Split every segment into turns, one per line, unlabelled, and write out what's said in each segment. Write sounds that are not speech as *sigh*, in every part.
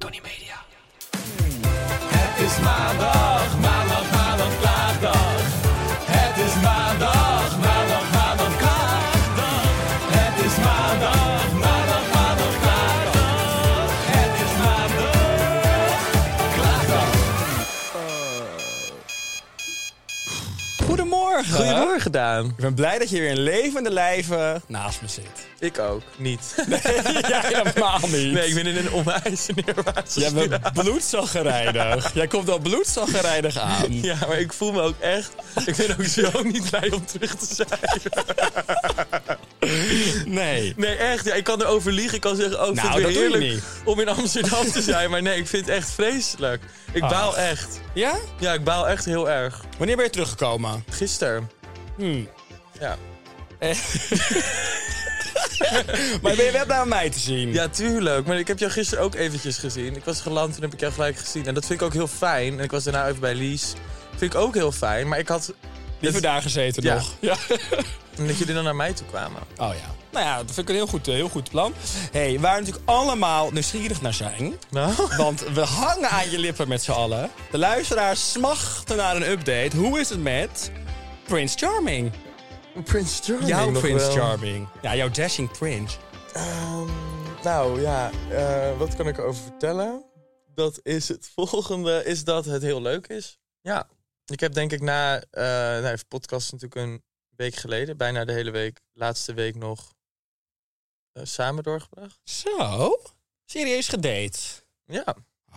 Tony Media.
Goedemorgen.
Goedemorgen, Daan.
Ik ben blij dat je weer in levende lijven Nou, naast me zit.
Ik ook. Niet.
*laughs* Jij helemaal niet.
Nee, ik ben in een onwijs neerwaartse
Jij
spiraal.
bent bloedzaggerijdig.
*laughs*
Jij komt al bloedzaggerijdig aan.
Ja, maar ik voel me ook echt... Ik ben ook zo *laughs* niet blij om terug te zijn.
Nee.
Nee, echt. Ja, ik kan erover liegen. Ik kan zeggen, oh, ik
Nou,
vind het
dat
weer
doe je
heerlijk
niet.
om in Amsterdam te zijn. Maar nee, ik vind het echt vreselijk. Ik
Ach.
baal echt.
Ja?
Ja, ik baal echt heel erg.
Wanneer ben je teruggekomen?
Gisteren.
Hmm.
Ja.
Maar ben je wel blij om mij te zien?
ja, tuurlijk. Maar ik heb jou gisteren ook eventjes gezien. Ik was geland en heb ik jou gelijk gezien. En dat vind ik ook heel fijn. En ik was daarna even bij Lies. Vind ik ook heel fijn. Maar ik had...
Liever daar gezeten
Ja.
nog. Ja.
*laughs* En dat jullie dan naar mij toe kwamen.
Oh ja. Nou ja, dat vind ik een heel goed, eh, heel goed plan. hey, waar we natuurlijk allemaal nieuwsgierig naar zijn.
Nou?
Want we hangen aan je lippen met z'n allen. De luisteraars smachten naar een update. Hoe is het met Prince Charming?
Prince Charming.
jouw
nog
Prince
wel.
Charming. Ja, jouw dashing Prince.
Ehm, nou ja, eh, wat kan ik erover vertellen? Dat is het *laughs* volgende, is dat het heel leuk is. Ja, ik heb denk ik na, eh nou even podcast natuurlijk een week geleden, bijna de hele week, laatste week nog eh, samen doorgebracht.
Zo, serieus gedate.
Ja.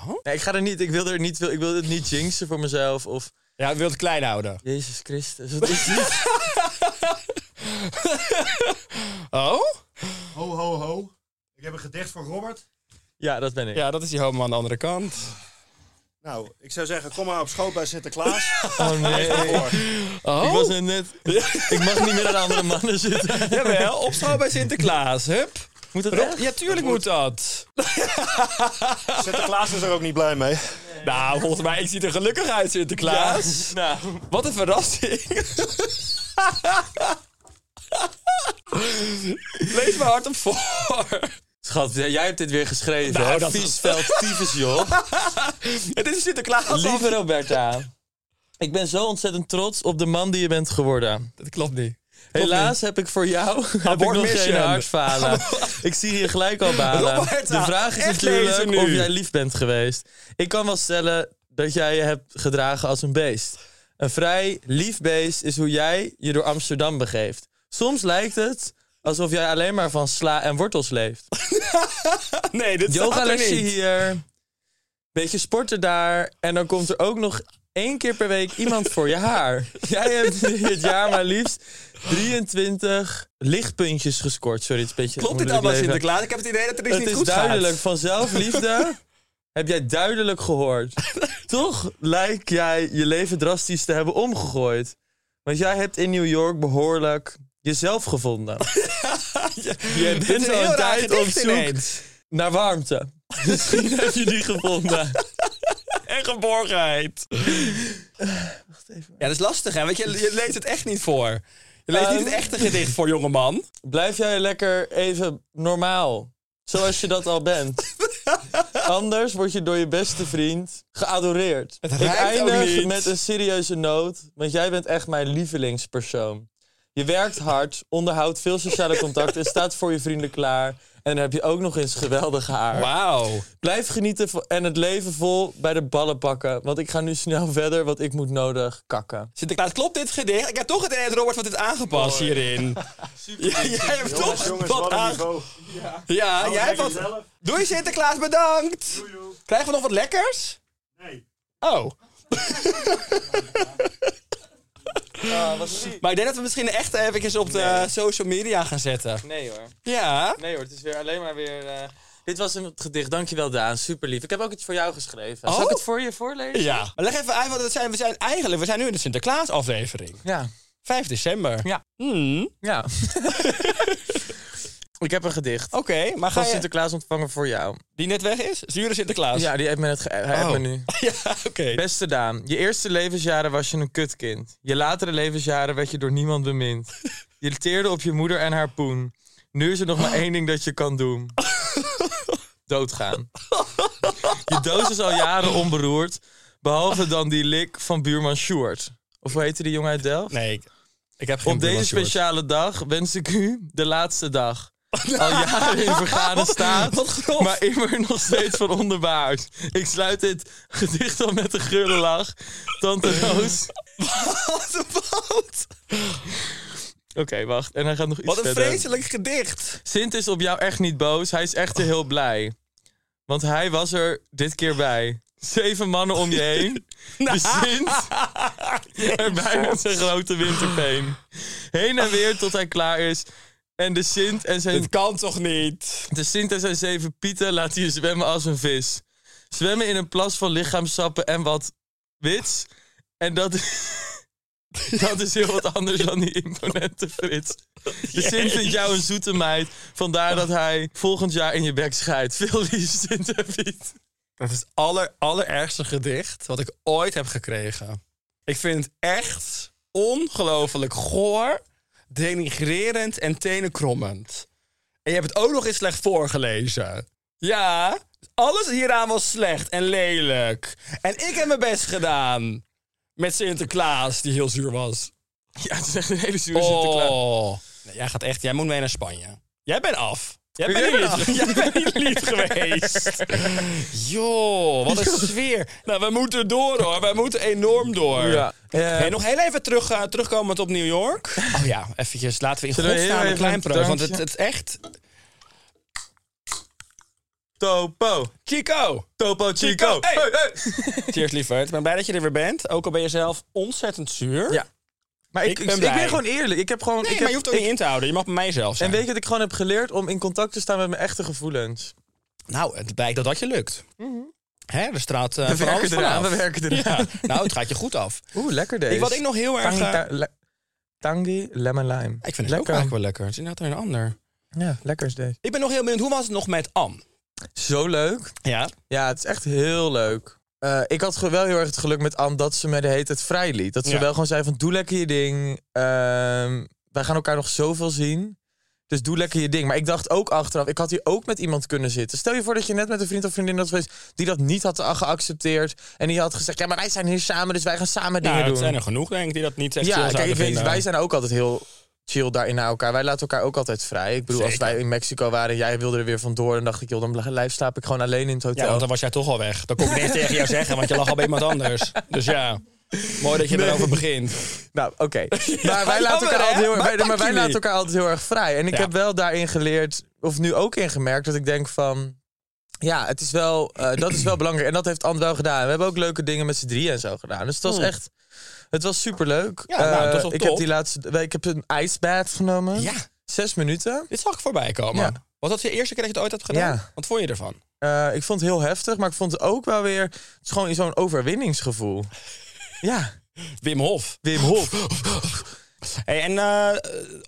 Oh.
Nee, ik ga er niet, ik wil er niet, ik wil het niet jinxen voor mezelf of
Ja, we wil het klein houden.
Jezus Christus. *laughs* Wat is dit?
Oh?
Ho, ho, ho. Ik heb een gedicht van Robert.
ja, dat ben ik.
Ja, dat is die homo aan de andere kant.
Nou, ik zou zeggen, kom maar op schoot bij Sinterklaas. *laughs*
Oh nee.
Oh?
Ik was er net, ik mag niet meer aan andere mannen zitten.
Jawel, opschouw bij Sinterklaas, hup.
Moet dat
Rob,
echt?
ja, tuurlijk moet dat.
Sinterklaas is er ook niet blij mee.
Nou, volgens mij, ik zie er gelukkig uit, Sinterklaas.
Nou,
Wat een verrassing. Lees me hard op voor.
Schat, jij hebt dit weer geschreven.
Nou,
hè?
dat was-
Viesveld, tyfus, joh.
*laughs* Het is Sinterklaas.
Lieve Roberta. Ik ben zo ontzettend trots op de man die je bent geworden.
Dat klopt niet.
Helaas heb ik voor jou *laughs* heb ik nog
Abortmission.
geen *laughs* hartfalen. Ik zie je gelijk al balen.
Roberta,
de vraag is
echt lezen
natuurlijk
nu.
of jij lief bent geweest. Ik kan wel stellen dat jij je hebt gedragen als een beest. Een vrij lief beest is hoe jij je door Amsterdam begeeft. Soms lijkt het alsof jij alleen maar van sla en wortels leeft.
Nee, dit
Yoga
staat er
lesje
niet.
hier. Beetje sporten daar. En dan komt er ook nog één keer per week iemand voor je
*laughs*
haar. Jij hebt dit jaar maar liefst 23 lichtpuntjes gescoord. Sorry, het is een beetje...
Klopt dit
moeilijk
allemaal
leven.
Sinterklaas? Ik heb het idee dat er iets
Het
niet
is
goed
duidelijk.
gaat.
Van
*laughs*
zelfliefde heb jij duidelijk gehoord. Toch lijkt jij je leven drastisch te hebben omgegooid. Want jij hebt in New York behoorlijk jezelf gevonden.
*laughs*
je
Dit is
bent
een
al
heel raar
een tijd op
gedicht
zoek
ineens.
naar warmte. Misschien heb je die
*laughs*
gevonden.
En geborgenheid. Ja, dat is lastig, hè? Want je, je leest het echt niet voor. Je leest niet het echte gedicht voor, jongeman.
Blijf jij lekker even normaal. Zoals je dat al
*laughs*
bent. Anders word je door je beste vriend geadoreerd.
Het
Ik
rijmt ook
eindig
niet.
met een serieuze noot, want jij bent echt mijn lievelingspersoon. Je werkt hard, onderhoudt veel sociale contacten en staat voor je vrienden klaar. En dan heb je ook nog eens geweldige haar.
Wauw.
Blijf genieten vo- en het leven vol bij de ballen pakken. Want ik ga nu snel verder, want ik moet nodig kakken.
Sinterklaas, klopt dit gedicht? Ik heb toch het idee dat Robert wat dit aangepast hierin. Ja, jij hebt
Jongens,
toch
jongens,
wat
wat een
aan...
niveau.
Ja, jij hebt
lekker
wat...
zelf.
Doei Sinterklaas, bedankt! Krijgen we nog wat lekkers?
Nee.
*laughs*
Oh.
Ah, wat lief.
Maar ik denk dat we misschien echt even op de social media gaan zetten.
Nee hoor.
Ja.
Nee hoor, het is weer alleen maar weer... eh, Dit was een gedicht. Dankjewel Daan, super lief. Ik heb ook iets voor jou geschreven. Zal ik
Oh?
het voor je voorlezen?
Ja. Maar leg even uit, want het zijn, we zijn eigenlijk... We zijn nu in de Sinterklaas aflevering.
Ja.
5 december.
Ja.
Hmm. Oké,
Ja. *laughs* ik heb een gedicht.
maar ga
Van
je...
Sinterklaas ontvangen voor jou.
Die net weg is? Zure Sinterklaas.
Ja, die heeft me, net ge- hij heeft
Oh.
me nu.
*laughs* Ja, oké.
Beste Daan, je eerste levensjaren was je een kutkind. Je latere levensjaren werd je door niemand bemind. Je teerde op je moeder en haar poen. Nu is er nog maar één ding dat je kan doen. Doodgaan. Je doos is al jaren onberoerd, behalve dan die lik van buurman Sjoerd. Of hoe heette die jongen uit Delft?
Nee, ik, ik heb geen
Op deze
Bruno Sjoerd.
speciale dag wens ik u de laatste
*laughs*
dag. Al jaren in vergane staat,
Wat grof.
maar immer nog steeds van onderbaard. Ik sluit dit gedicht al met een geurde lach.
*laughs*
Tante Roos.
Wat, wat?
Oké, wacht. En hij gaat nog iets
*laughs* Wat een
verder.
vreselijk gedicht.
Sint is op jou echt niet boos. Hij is echt heel blij. Want hij was er dit keer bij. Zeven mannen om je
*laughs*
heen. De Sint erbij met zijn grote winterpeen. Heen en weer tot hij klaar is. En de Sint en zijn
Dit kan toch niet?
De Sint en zijn zeven pieten laat hij je zwemmen als een vis. Zwemmen in een plas van lichaamsappen en wat wits. En dat, *laughs* dat is heel wat anders dan die imponente Frits. De Sint vindt jou een zoete meid. Vandaar dat hij volgend jaar in je bek scheidt. Veel liefst, Sint en Piet.
Dat is het aller, allerergste gedicht wat ik ooit heb gekregen. Ik vind het echt ongelooflijk goor, denigrerend en tenenkrommend. En je hebt het ook nog eens slecht voorgelezen. Ja, alles hieraan was slecht en lelijk. En ik heb mijn best gedaan. Met Sinterklaas, die heel zuur was.
Ja, het is echt een hele zure Sinterklaas.
Oh. Nee, jij gaat echt, jij moet mee naar Spanje. Jij bent af. Jij bent,
Jij
niet
bent
lief, *laughs* jij bent niet lief geweest. Joh, wat
*laughs*
een sfeer. Nou, we moeten door hoor. Wij moeten enorm door.
Ja. Eh,
Hey, nog heel even terug, eh, terugkomend op New York. Oh ja, eventjes. Laten we in
Zullen we heel
godsnaam een
even
klein
een
proost. Want het,
drankje?
het is echt...
Topo.
Chico!
Topo Chico.
Hey.
Hey, hey.
Cheers lieverd. Ik ben blij dat je er weer bent. Ook al ben je zelf ontzettend zuur.
Ja. Maar ik,
Ik
ik,
ben
ik ben,
blij.
gewoon eerlijk. Ik heb gewoon,
Nee, maar
ik heb,
je hoeft ook niet in te houden. Je mag bij mij zelf zijn.
En weet je dat ik gewoon heb geleerd om in contact te staan met mijn echte gevoelens?
Nou, het blijkt dat dat je lukt. Hè, er straalt eh
We
van
werken
alles van
eraan,
af.
we werken eraan.
Ja, nou, het gaat je goed af.
Oeh, lekker deze.
Ik, wat ik nog heel erg...
Tangi,
eh,
ta- le- tangi lemon lime.
ik vind het ook
lekker.
eigenlijk wel lekker. Het is inderdaad een ander.
Ja, lekker is deze.
Ik ben nog heel benieuwd, hoe was het nog met Am?
Zo leuk.
Ja.
Ja, het is echt heel leuk. Eh, ik had ge- wel heel erg het geluk met Anne dat ze me de hele tijd vrij liet. Dat ze
Ja.
wel gewoon zei van doe lekker je ding. Ehm, wij gaan elkaar nog zoveel zien. Dus doe lekker je ding. Maar ik dacht ook achteraf, ik had hier ook met iemand kunnen zitten. Stel je voor dat je net met een vriend of vriendin was geweest... die dat niet had a- geaccepteerd. En die had gezegd, ja, maar wij zijn hier samen, dus wij gaan samen dingen
Nou,
doen.
het zijn er genoeg, denk ik, die dat niet echt chill
Ja, kijk,
zouden
ik weet,
vinden.
wij zijn ook altijd heel chill daarin naar elkaar. Wij laten elkaar ook altijd vrij. Ik bedoel,
Zeker.
als wij in Mexico waren en jij wilde er weer vandoor... dan dacht ik, joh, dan blijf slaap ik gewoon alleen in het hotel.
Ja, want dan was jij toch al weg. Dat kon ik niet eens tegen jou zeggen, want je lag al bij iemand anders. Dus ja, mooi dat je erover begint.
Nou, oké.
*laughs* Ja,
Maar wij laten
jammer,
elkaar
hè?
altijd heel erg,
Wij
wij, maar
pakken
wij laten
jullie.
elkaar altijd heel erg vrij. En ik
Ja.
heb wel daarin geleerd, of nu ook in gemerkt, dat ik denk van. Ja, het is wel, eh, dat is wel *clears throat* belangrijk. En dat heeft Ant wel gedaan. We hebben ook leuke dingen met z'n drieën en zo gedaan. Dus het was
Hmm.
echt. Het was superleuk.
Ja, nou, het was
Eh,
wel
ik
top.
heb die laatste. Ik heb een ijsbad genomen.
Ja.
Zes minuten.
Dit zag ik voorbij komen.
Ja.
Was dat de eerste keer dat je het ooit hebt gedaan?
Ja.
Wat vond je ervan?
Eh, ik vond het heel heftig, maar ik vond het ook wel weer. Het is gewoon zo'n overwinningsgevoel. ja,
Wim Hof.
Wim Hof.
Hey, en eh,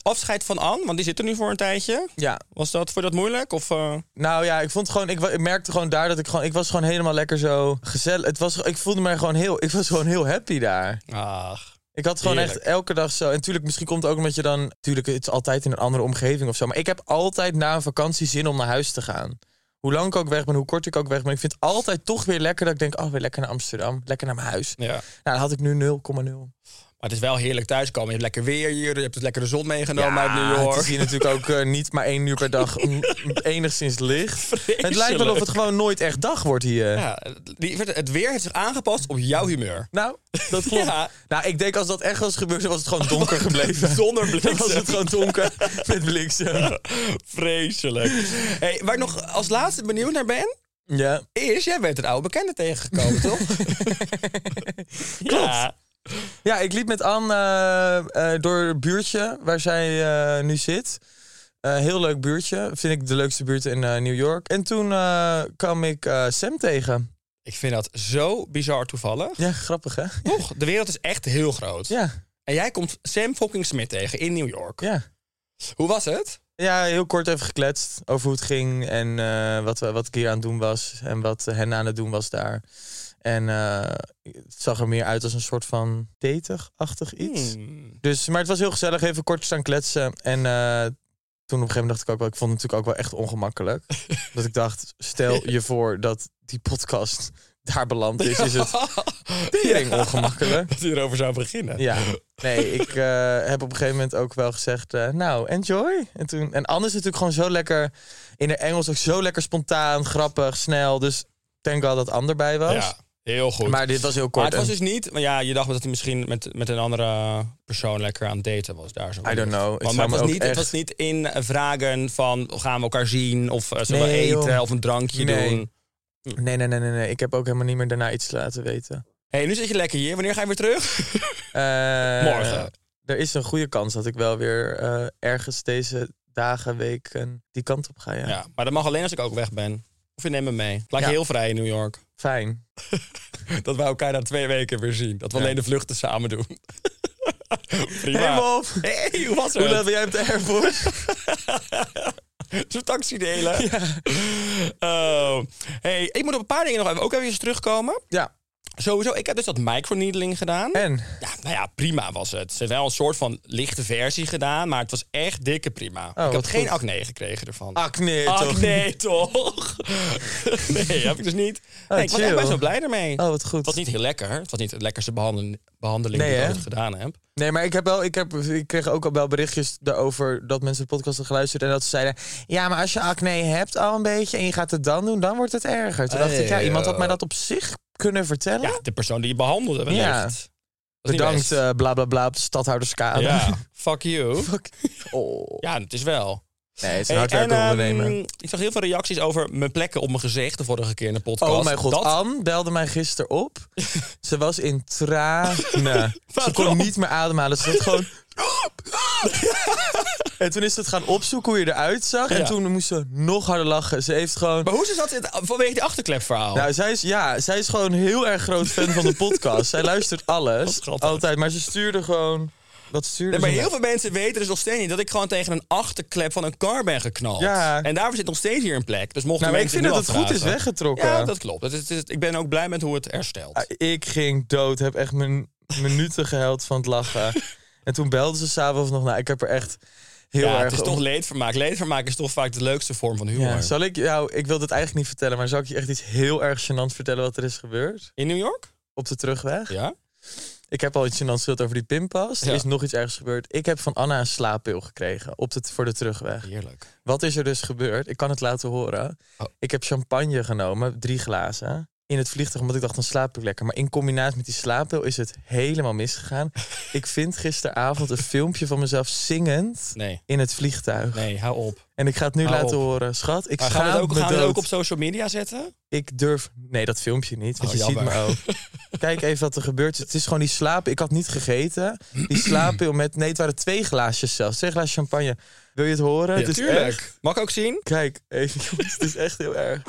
afscheid van Anne, want die zit er nu voor een tijdje.
Ja,
Was dat, vond je dat moeilijk? Of, eh?
Nou ja, ik vond gewoon, ik, wa- ik merkte gewoon daar dat ik gewoon, ik was gewoon helemaal lekker zo gezellig. Het was, ik voelde me gewoon heel, ik was gewoon heel happy daar.
Ach,
Ik had gewoon
Heerlijk.
echt elke dag zo. En natuurlijk, misschien komt het ook omdat je dan, natuurlijk, het is altijd in een andere omgeving of zo. Maar ik heb altijd na een vakantie zin om naar huis te gaan. Hoe lang ik ook weg ben, hoe kort ik ook weg ben, ik vind het altijd toch weer lekker dat ik denk, oh, weer lekker naar Amsterdam, lekker naar mijn huis.
ja.
Nou, dat had ik nu 0,0.
Maar het is wel heerlijk thuiskomen. Je hebt lekker weer hier. Je hebt het lekkere zon meegenomen uit New York.
Ah, Het is hier natuurlijk ook eh, niet maar één uur per dag m-
*laughs*
enigszins licht. Het lijkt wel of het gewoon nooit echt dag wordt hier.
Ja, die- het weer heeft zich aangepast op jouw humeur.
Nou, dat klopt.
Ja.
Nou, ik denk als dat echt was gebeurd, dan was het gewoon *laughs*
*laughs*
donker gebleven.
Zonder
*laughs*
bliksem. *laughs*
Dan was het gewoon donker met bliksem.
Vreselijk. Hey, waar ik nog als laatste benieuwd naar ben,
Ja.
is... Jij bent een oude bekende tegengekomen,
*laughs*
toch? *laughs* Klopt.
Ja, ik liep met Anne eh, eh, door het buurtje waar zij eh, nu zit. Eh, heel leuk buurtje. Vind ik de leukste buurt in eh, New York. En toen eh, kwam ik eh, Sam tegen.
Ik vind dat zo bizar toevallig.
Ja, grappig hè?
Toch, de wereld is echt heel groot.
Ja,
En jij komt Sam fucking Smith tegen in New York.
ja.
Hoe was het?
Ja, heel kort even gekletst over hoe het ging en eh, wat, we- wat ik hier aan het doen was en wat hen aan het doen was daar. En eh, het zag er meer uit als een soort van datig-achtig iets.
Hmm. *laughs*
Dus, maar het was heel gezellig, even kort staan kletsen. En eh, toen op een gegeven moment dacht ik ook wel, ik vond het natuurlijk ook wel echt ongemakkelijk. dat ik dacht, stel je voor dat die podcast daar beland is, is het tering ongemakkelijk.
Dat hij erover zou beginnen.
Ja,
*laughs*
nee, ik eh, heb op een gegeven moment ook wel gezegd, eh, nou, enjoy. En, toen, en Anne is natuurlijk gewoon zo lekker, in haar Engels ook zo lekker spontaan, grappig, snel. Dus thank god dat Ander bij was.
Ja, heel goed.
Maar dit was heel
Maar
kort.
het was
en-
dus niet... Maar ja, je dacht dat hij misschien met, met een andere persoon lekker aan het daten was daar. Zo
I don't know. Het
Want, maar het,
zou me
was
ook
niet, het
echt-
was niet in eh, vragen van gaan we elkaar zien of eh, zullen
Nee,
we eten
joh.
of een drankje
Nee.
doen.
Nee, nee, nee, nee, nee. Ik heb ook helemaal niet meer daarna iets laten weten.
hey, nu zit je lekker hier. Wanneer ga je weer
*laughs*
terug?
Eh,
Morgen.
Er is een goede kans dat ik wel weer eh, ergens deze dagen, weken die kant op ga. Ja.
Ja, maar dat mag alleen als ik ook weg ben. Of je neemt me mee. Laat
Ja.
je heel vrij in New York. *laughs*
Fijn.
Dat we elkaar na twee weken weer zien. Dat we
Ja.
alleen de vluchten samen doen. *laughs* Prima.
Hey Bob!
Hey, hoe was
Hoe laat
het?
ben jij op de airport?
*laughs* Zo'n taxi delen. Oh. hey, ik moet op een paar dingen nog even, ook even eens terugkomen.
ja.
Sowieso, ik heb dus dat microneedling gedaan.
En?
Ja, nou ja, prima was het. Ze hebben wel een soort van lichte versie gedaan, maar het was echt dikke prima. ik heb
Oh, wat
geen
goed.
acne gekregen ervan.
Acne,
*laughs*
toch?
Acne, toch? *laughs* nee, heb ik dus niet. Nee, ik was echt
Ah, chill.
best wel blij ermee.
Oh, wat goed.
Het was niet heel lekker. Het was niet de lekkerste behandeling, behandeling
Nee,
die ik
hè?
ooit gedaan heb.
Nee, maar ik, heb wel, ik, heb, ik kreeg ook al wel berichtjes daarover dat mensen de podcast hadden geluisterd. En dat ze zeiden, ja, maar als je acne hebt al een beetje en je gaat het dan doen, dan wordt het erger. Toen dacht ik, ja,
Hey,
iemand had
eh,
mij dat op zich kunnen vertellen.
Ja, de persoon die je behandelde wellicht.
Ja.
Dat is niet
Bedankt,
best.
eh, bla bla bla, op de stadhouderskade.
ja, Ah, *laughs*
*laughs*
fuck you.
Oh.
Ja, het is wel.
Nee, het is
Hey,
een hard werken
en,
ondernemen.
ehm, ik zag heel veel reacties over mijn plekken op mijn gezicht de vorige keer in de podcast.
Oh mijn god,
Dat-
Anne belde mij gisteren
*laughs*
op. Ze was in tranen. Ze kon
Waarom?
niet meer ademhalen. Ze zat
*laughs*
gewoon... en toen is ze het gaan opzoeken hoe je eruit zag. En
Ja.
toen moest ze nog harder lachen. Ze heeft
*laughs*
gewoon...
Maar hoe is dat in het- vanwege die achterklepverhaal?
Nou, zij is, ja, zij is gewoon heel erg groot fan
*laughs*
van de podcast. zij luistert alles,
schattig.
altijd. Maar ze stuurde gewoon... Wat stuurde
Nee, maar
ze
heel
nou?
veel mensen weten dus nog steeds niet dat ik gewoon tegen een achterklep van een car ben geknald.
Ja.
En daarvoor zit nog steeds hier een plek. Dus mochten
Nou, maar ik
mensen
vind dat
nu
het goed is
afvragen-
weggetrokken.
Ja, dat klopt. Het is, het is- ik ben ook blij met hoe het herstelt.
Ah, Ik ging dood, heb echt mijn minuten gehuild van het
*laughs*
lachen. en toen belde ze s'avonds nog, nou, ik heb er echt heel
ja,
erg...
het is toch
om-
leedvermaak. Leedvermaak is toch vaak de leukste vorm van humor.
ja, zal ik jou, ik wil dit eigenlijk niet vertellen, maar zal ik je echt iets heel erg gênants vertellen wat er is gebeurd
In New York?
op de terugweg?
Ja.
Ik heb al iets gênants verteld over die pinpas.
Ja.
Er is nog iets ergs gebeurd. Ik heb van Anna een slaappil gekregen op de, voor de terugweg.
Heerlijk.
Wat is er dus gebeurd? Ik kan het laten horen.
Oh.
Ik heb champagne genomen, drie glazen. In het vliegtuig, omdat ik dacht, dan slaap ik lekker. Maar in combinatie met die slaappil is het helemaal
*laughs*
misgegaan. ik vind gisteravond een filmpje van mezelf zingend
Nee.
in het vliegtuig.
Nee, hou op.
En ik ga het nu
Hou
laten
op.
horen. Schat, ik
Maar gaan we het
schaam
ook,
me
gaan we het
dood.
ook op social media zetten?
Ik durf... Nee, dat filmpje niet, want
Oh,
je ziet
jammer.
me ook.
*laughs*
Kijk even wat er gebeurt. Het is gewoon die slaap. Ik had niet gegeten. Die slaappil met... Nee, het waren twee glaasjes zelfs. Twee glaasjes champagne. Wil je het horen? het is echt-
Mag ik ook zien? *laughs*
Kijk, even *laughs* jongens, het is echt heel erg.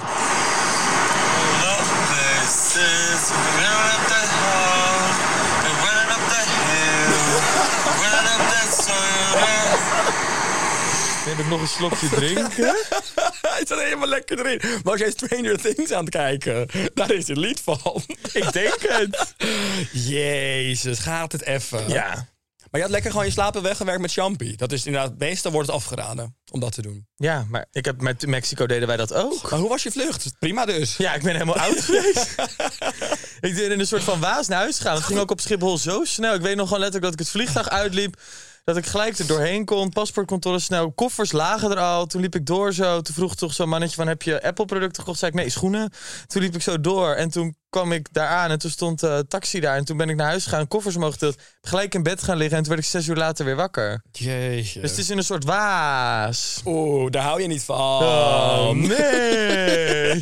Neem ik nog een slokje drinken?
Hij zat helemaal lekker erin. Was jij Stranger Things aan het kijken? Daar is een
*laughs*
lied van.
Ik denk het.
Jezus, gaat het even.
Ja.
Maar je had lekker gewoon je slapen weggewerkt met champi. Dat is inderdaad, meestal wordt het afgeraden om dat te doen.
Ja, maar ik heb, met Mexico deden wij dat ook.
Maar hoe was je vlucht? Prima dus.
Ja, ik ben helemaal *laughs* oud geweest.
*laughs*
ik ben in een soort van waas naar huis gegaan. Het ging ook op Schiphol zo snel. Ik weet nog gewoon letterlijk dat ik het vliegtuig uitliep. Dat ik gelijk er doorheen kon. Paspoortcontrole snel. Koffers lagen er al. Toen liep ik door zo. Toen vroeg toch zo'n mannetje van heb je Apple producten gekocht? Zei ik nee, schoenen. Toen liep ik zo door. En toen kwam ik daar aan. En toen stond eh taxi daar. En toen ben ik naar huis gegaan. Koffers mogen gedeeld. Gelijk in bed gaan liggen. En toen werd ik zes uur later weer wakker.
Jeetje.
Dus het is in een soort waas.
Oeh, daar hou je niet van.
Oh, *laughs* nee.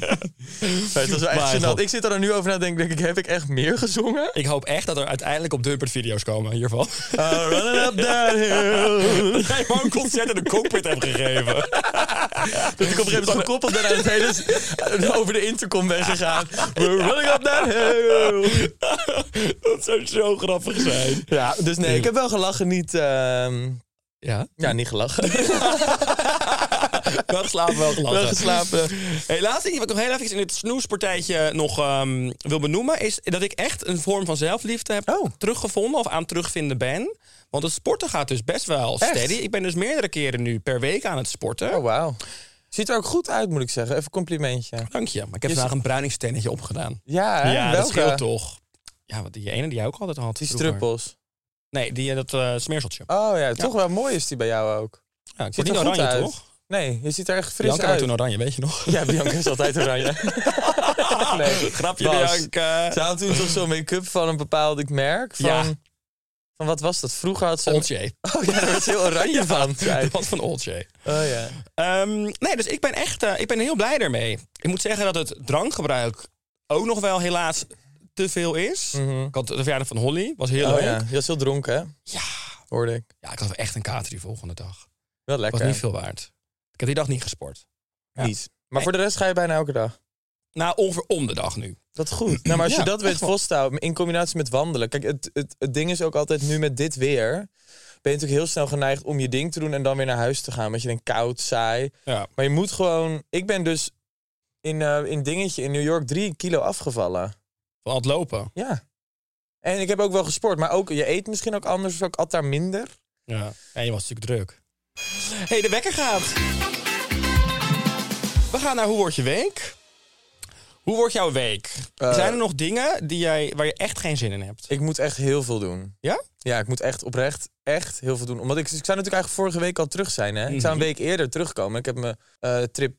Maar het was wel echt
Maar,
gênant.
god.
Ik zit er dan nu over na te denken, denk ik, heb ik echt meer gezongen?
Ik hoop echt dat er uiteindelijk op Dumpert video's komen hiervan.
Uh, running up that hill.
Dat jij gewoon een concert in de cockpit hebt *laughs* gegeven.
Dat *laughs* ik op een gegeven moment gekoppeld ben aan het hele... s- *laughs* over de intercom ben gegaan. We're running up that hill.
*laughs* Dat zou zo grappig zijn.
Ja, dus nee, ik heb wel gelachen, niet... ehm,
Ja.
ja, niet gelachen.
*laughs* Wel geslapen, wel gelachen.
Wel geslapen.
Hey, laatste ding wat ik nog heel even in het snoespartijtje nog ehm, wil benoemen... is dat ik echt een vorm van zelfliefde heb teruggevonden... of aan het terugvinden ben. Want het sporten gaat dus best wel steady. Ik ben dus meerdere keren nu per week aan het sporten.
Oh, wauw. Ziet er ook goed uit, moet ik zeggen. Even complimentje.
Dank je. Maar ik heb vandaag een bruiningstennetje opgedaan.
Ja, hè?
ja, dat
Welke?
scheelt toch. Ja, wat die ene die jij ook altijd had.
Die
vroeger.
struppels.
Nee, die, eh, dat eh, smeerseltje.
Oh ja, toch wel mooi is die bij jou ook.
Ja, ik
Ziet
word niet
er goed
oranje,
uit.
toch?
Nee, je ziet er echt fris
Bianca werd
uit.
toen oranje, weet je nog?
Ja, Bianca is altijd *laughs* oranje.
*laughs*
nee,
Grapje,
Bas.
Bianca.
Ze had toen toch zo'n make-up van een bepaald merk. Van,
Ja.
van wat was dat? Vroeger had ze...
Old Jay.
Oh *laughs* ja, daar werd ze heel oranje van.
Dat was van Old Jay.
Oh ja.
Ehm, nee, dus ik ben echt eh, ik ben heel blij daarmee. Ik moet zeggen dat het drankgebruik ook nog wel helaas te veel is. Ik had de verjaardag van Holly, was heel
Mhm. Oh
leuk.
ja.
Ja.
Je was heel dronken, hè?
Ja.
Hoorde ik.
ik had echt een kater die volgende dag.
Wel
Was
lekker.
niet veel waard. Ik heb die dag niet gesport. Ja.
Niet. Maar voor de rest ga je bijna elke dag.
Nou, ongeveer om de dag nu.
Dat is goed. Nou, maar als
Ja,
je dat weet
echt wel.
vasthouden in combinatie met wandelen. Kijk, het, het, het ding is ook altijd nu met dit weer. Ben je natuurlijk heel snel geneigd om je ding te doen en dan weer naar huis te gaan. Want je denkt koud, saai.
Ja.
Maar je moet gewoon. Ik ben dus in, eh, in dingetje in New York drie kilo afgevallen.
Van het lopen.
Ja. En ik heb ook wel gesport, maar ook je eet misschien ook anders of zo. Ik at daar minder.
Ja. En je was natuurlijk druk. hey, de wekker gaat. We gaan naar Hoe Wordt Je Week? Hoe wordt jouw week?
Eh,
Zijn er nog dingen die jij, waar je echt geen zin in hebt?
Ik moet echt heel veel doen.
Ja?
Ja, ik moet echt oprecht echt heel veel doen. Omdat ik, ik zou natuurlijk eigenlijk vorige week al terug zijn. Hè? Ik zou
Mhm.
een week eerder terugkomen. Ik heb mijn eh, trip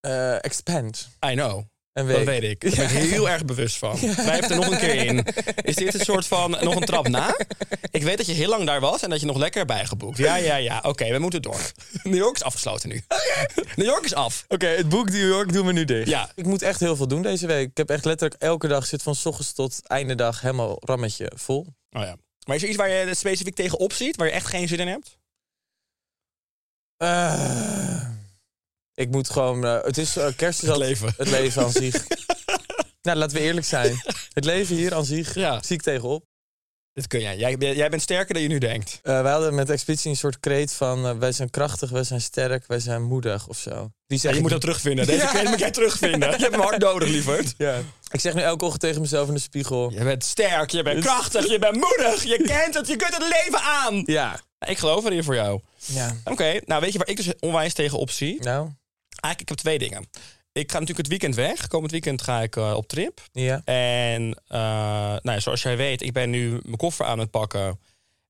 eh, expand.
I know.
Een week.
Dat weet ik. Daar ben ik heel erg bewust
*laughs*
van. Wij er nog een keer in. Is dit een soort van nog een trap na? Ik weet dat je heel lang daar was en dat je nog lekker hebt bijgeboekt. Ja, ja, ja. Oké, we moeten
*laughs*
door. New York is afgesloten nu. New York is af.
Oké, het boek New York doen we nu dicht.
Ja.
*laughs* Ik moet echt heel veel doen deze week. Ik heb echt letterlijk elke dag zit van 's ochtends tot einde dag helemaal rammetje vol.
Oh ja. Maar is er iets waar je specifiek tegenop ziet, waar je echt geen zin in hebt?
Eh, ik moet gewoon. eh, het is eh, kerst is
Het
altijd-
leven.
Het leven aan
*laughs*
zich. nou, laten we eerlijk zijn. Het leven hier aan zich
Ja.
zie ik tegenop.
Dit kun jij. jij. Jij bent sterker dan je nu denkt.
Eh, wij hadden met Expeditie een soort kreet van eh, wij zijn krachtig, wij zijn sterk, wij zijn moedig of zo. Die zeg
Ja, je moet
ik nu-
dat terugvinden. Deze
Ja.
keer moet jij terugvinden. *laughs* Je hebt hem hard nodig, lieverd.
Ja. Ik zeg nu elke ochtend tegen mezelf in de spiegel.
Je bent sterk, je bent krachtig, je bent moedig. Je kent het, je kunt het leven aan.
Ja.
Ik geloof erin voor jou.
Ja.
Oké, nou weet je waar ik dus onwijs tegenop zie?
Nou,
Eigenlijk, ik heb twee dingen. Ik ga natuurlijk het weekend weg. Komend weekend ga ik eh, op trip.
ja.
En eh, nou, ja, zoals jij weet, ik ben nu mijn koffer aan het pakken.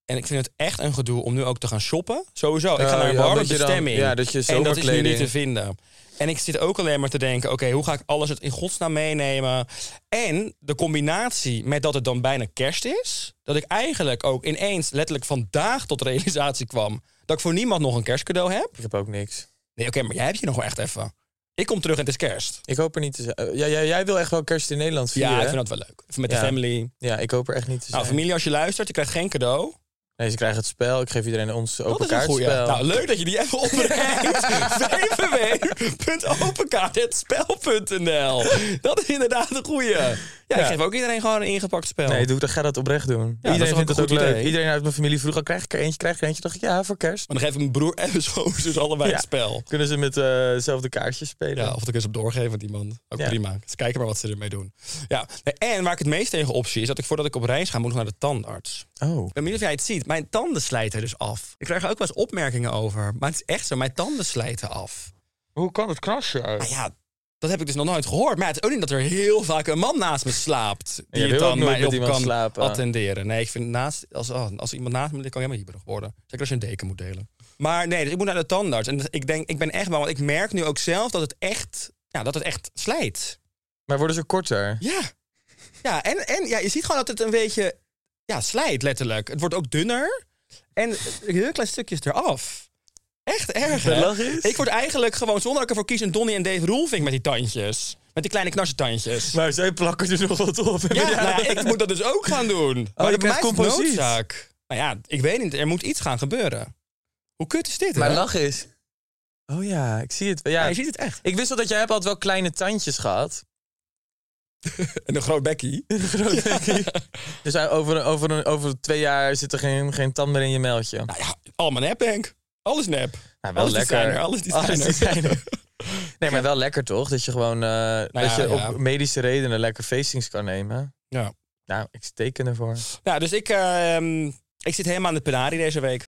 En ik vind het echt een gedoe om nu ook te gaan shoppen. Sowieso, ik
Oh,
ga naar een
ja,
warme
dat je dan-
bestemming.
ja, dat je
en dat is nu niet
zomerkleding-
te vinden. En ik zit ook alleen maar te denken, oké, hoe ga ik alles het in godsnaam meenemen? En de combinatie met dat het dan bijna kerst is... dat ik eigenlijk ook ineens letterlijk vandaag tot realisatie kwam... dat ik voor niemand nog een kerstcadeau heb.
Ik heb ook niks.
Nee, oké, maar jij hebt je nog wel echt even. Ik kom terug en het is kerst.
Ik hoop er niet te zijn. Eh, ja, jij- jij wil echt wel kerst in Nederland
Ja,
vieren.
ik
hè?
vind dat wel leuk. Even met
Ja.
de family.
ja, ik hoop er echt niet te zijn.
Nou, familie, als je luistert, je krijgt geen cadeau.
Nee, ze krijgen het spel. Ik geef iedereen ons
Dat
open
is een goeie.
kaartspel.
Nou, leuk dat je die even
*laughs*
opbrengt. www.openkaarthetspel.nl Dat is inderdaad een goeie. Ja, ik
Ja.
geef ook iedereen gewoon een ingepakt spel.
Nee, doe, dan ga dat oprecht doen.
Oh. dat is
Iedereen
ook
vindt
een
het ook
goed
leuk.
idee.
Iedereen uit mijn familie vroeg al, krijg ik er eentje, krijg ik er eentje? dacht ik, ja, voor kerst.
Maar dan geef ik mijn broer en mijn schoonzus dus allebei
Ja.
het spel.
Kunnen ze met eh, dezelfde kaartjes spelen?
Ja, of ik eens op doorgeven aan iemand. Ook
Ja.
prima. Dus kijken maar wat ze ermee doen. Ja. nee, En waar ik het meest tegen optie is dat ik voordat ik op reis ga, moet ik naar de tandarts.
Oh.
Ik weet niet of jij het ziet. Mijn tanden slijten dus af. Ik krijg er ook wel eens opmerkingen over. Maar het is echt zo. Mijn tanden slijten af.
Hoe kan het knasje uit?
Nou ja, dat heb ik dus nog nooit gehoord. Maar ja, het is ook niet dat er heel vaak een man naast me slaapt. Die
wil
het
ook
dan
nooit
mij
met
op
iemand
kan
slapen.
attenderen. Nee, ik vind naast, als, oh, als iemand naast me ligt, kan ik helemaal hyperig worden. Zeker als je een deken moet delen. Maar nee, dus ik moet naar de tandarts. En ik, denk, ik ben echt bang, want ik merk nu ook zelf dat het echt, ja, dat het echt slijt.
Maar worden ze korter?
Ja. Ja, en, en ja, je ziet gewoon dat het een beetje ja, slijt, letterlijk. Het wordt ook dunner. En heel klein stukjes eraf. Echt erg, hè?
Belachelijk.
Ik word eigenlijk gewoon, zonder dat ik ervoor kies, een Donnie en Dave Roelvink met die tandjes. Met die kleine knarsetandjes.
Maar zij plakken er nog wat op.
Ja, nou ja, ik *laughs* moet dat dus ook gaan doen. maar dat
Oh, je
bij mij
krijgt
is het
composiet.
noodzaak. Nou ja, ik weet niet, er moet iets gaan gebeuren. Hoe kut is dit,
Maar
hè?
lach eens. Oh ja, ik zie het. Ja,
Ja, je ziet het echt.
Ik wist wel dat jij hebt altijd wel kleine tandjes gehad.
En een groot bekkie.
Een groot bekkie. Dus eh, over, over, over twee jaar zit er geen, geen tand meer in je meltje.
Nou *laughs* ja, allemaal nep, Henk. Alles nep.
Nou, wel
alles
lekker.
designer, alles designer.
Alles designer.
*laughs*
Nee, maar wel lekker toch? Dat je gewoon eh, dat
Nou ja,
je
ja.
op medische redenen lekker facings kan nemen.
Ja.
Nou, ik teken ervoor.
Nou, dus ik, ehm, ik zit helemaal aan de penarie deze week.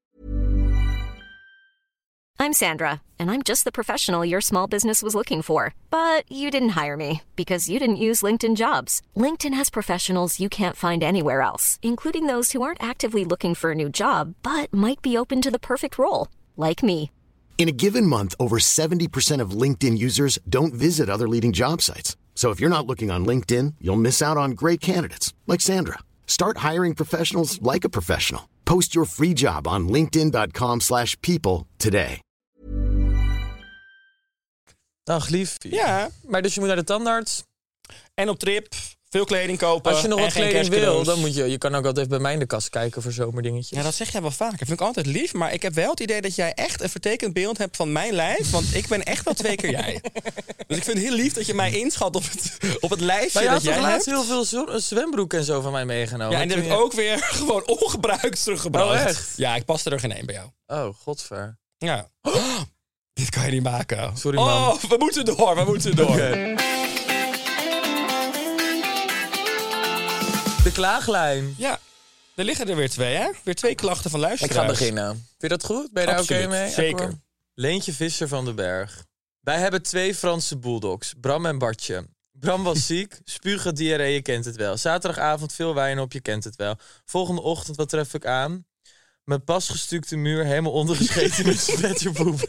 I'm Sandra, and I'm just the professional your small business was looking for. But you didn't hire me because you didn't use LinkedIn jobs. LinkedIn has professionals you can't find anywhere else, including those who aren't actively looking for a new job but might be open to the perfect role, like me.
In a given month, over 70% of LinkedIn users don't visit other leading job sites. So if you're not looking on LinkedIn, you'll miss out on great candidates like Sandra. Start hiring professionals like a professional. Post your free job on linkedin.com/people slash people today.
Dag lief.
Ja.
Maar dus je moet naar de tandarts.
En op trip, veel kleding kopen.
Als je nog
en
wat
geen
kleding wil,
kerstcadeaus.
dan moet je... Je kan ook altijd even bij mij in de kast kijken voor zomerdingetjes.
Ja, dat zeg jij wel vaker. Vind ik altijd lief, maar ik heb wel het idee dat jij echt een vertekend beeld hebt van mijn lijf. Want ik ben echt wel twee keer
*laughs*
jij. Dus ik vind het heel lief dat je mij inschat op het, op het lijstje
Maar je had
dat
toch
jij hebt.
laatst heel veel zo- zwembroeken en zo van mij meegenomen?
Ja, en die heb
Toen
ik
je-
ook weer *laughs* gewoon ongebruikt teruggebracht.
Oh, echt?
Ja, ik paste er geen één bij jou.
Oh, godver.
Ja. *gasps* Dit kan je niet maken.
Oh! Sorry,
oh,
man.
we moeten door, we
*laughs*
moeten door.
De klaaglijn.
Ja, er liggen er weer twee, hè? Weer twee klachten van
Ik
luisteraars.
ga beginnen. Vind je dat goed? Ben je daar oké
Absoluut,
mee?
zeker.
Akkoord? Leentje Visser van den Berg. Wij hebben twee Franse bulldogs, Bram en Bartje. Bram *laughs* was ziek, spugen, diarree, je kent het wel. Zaterdagavond veel wijn op, je kent het wel. Volgende ochtend, wat tref ik aan? Mijn pas gestukte muur helemaal ondergescheten *laughs* met spetterboep.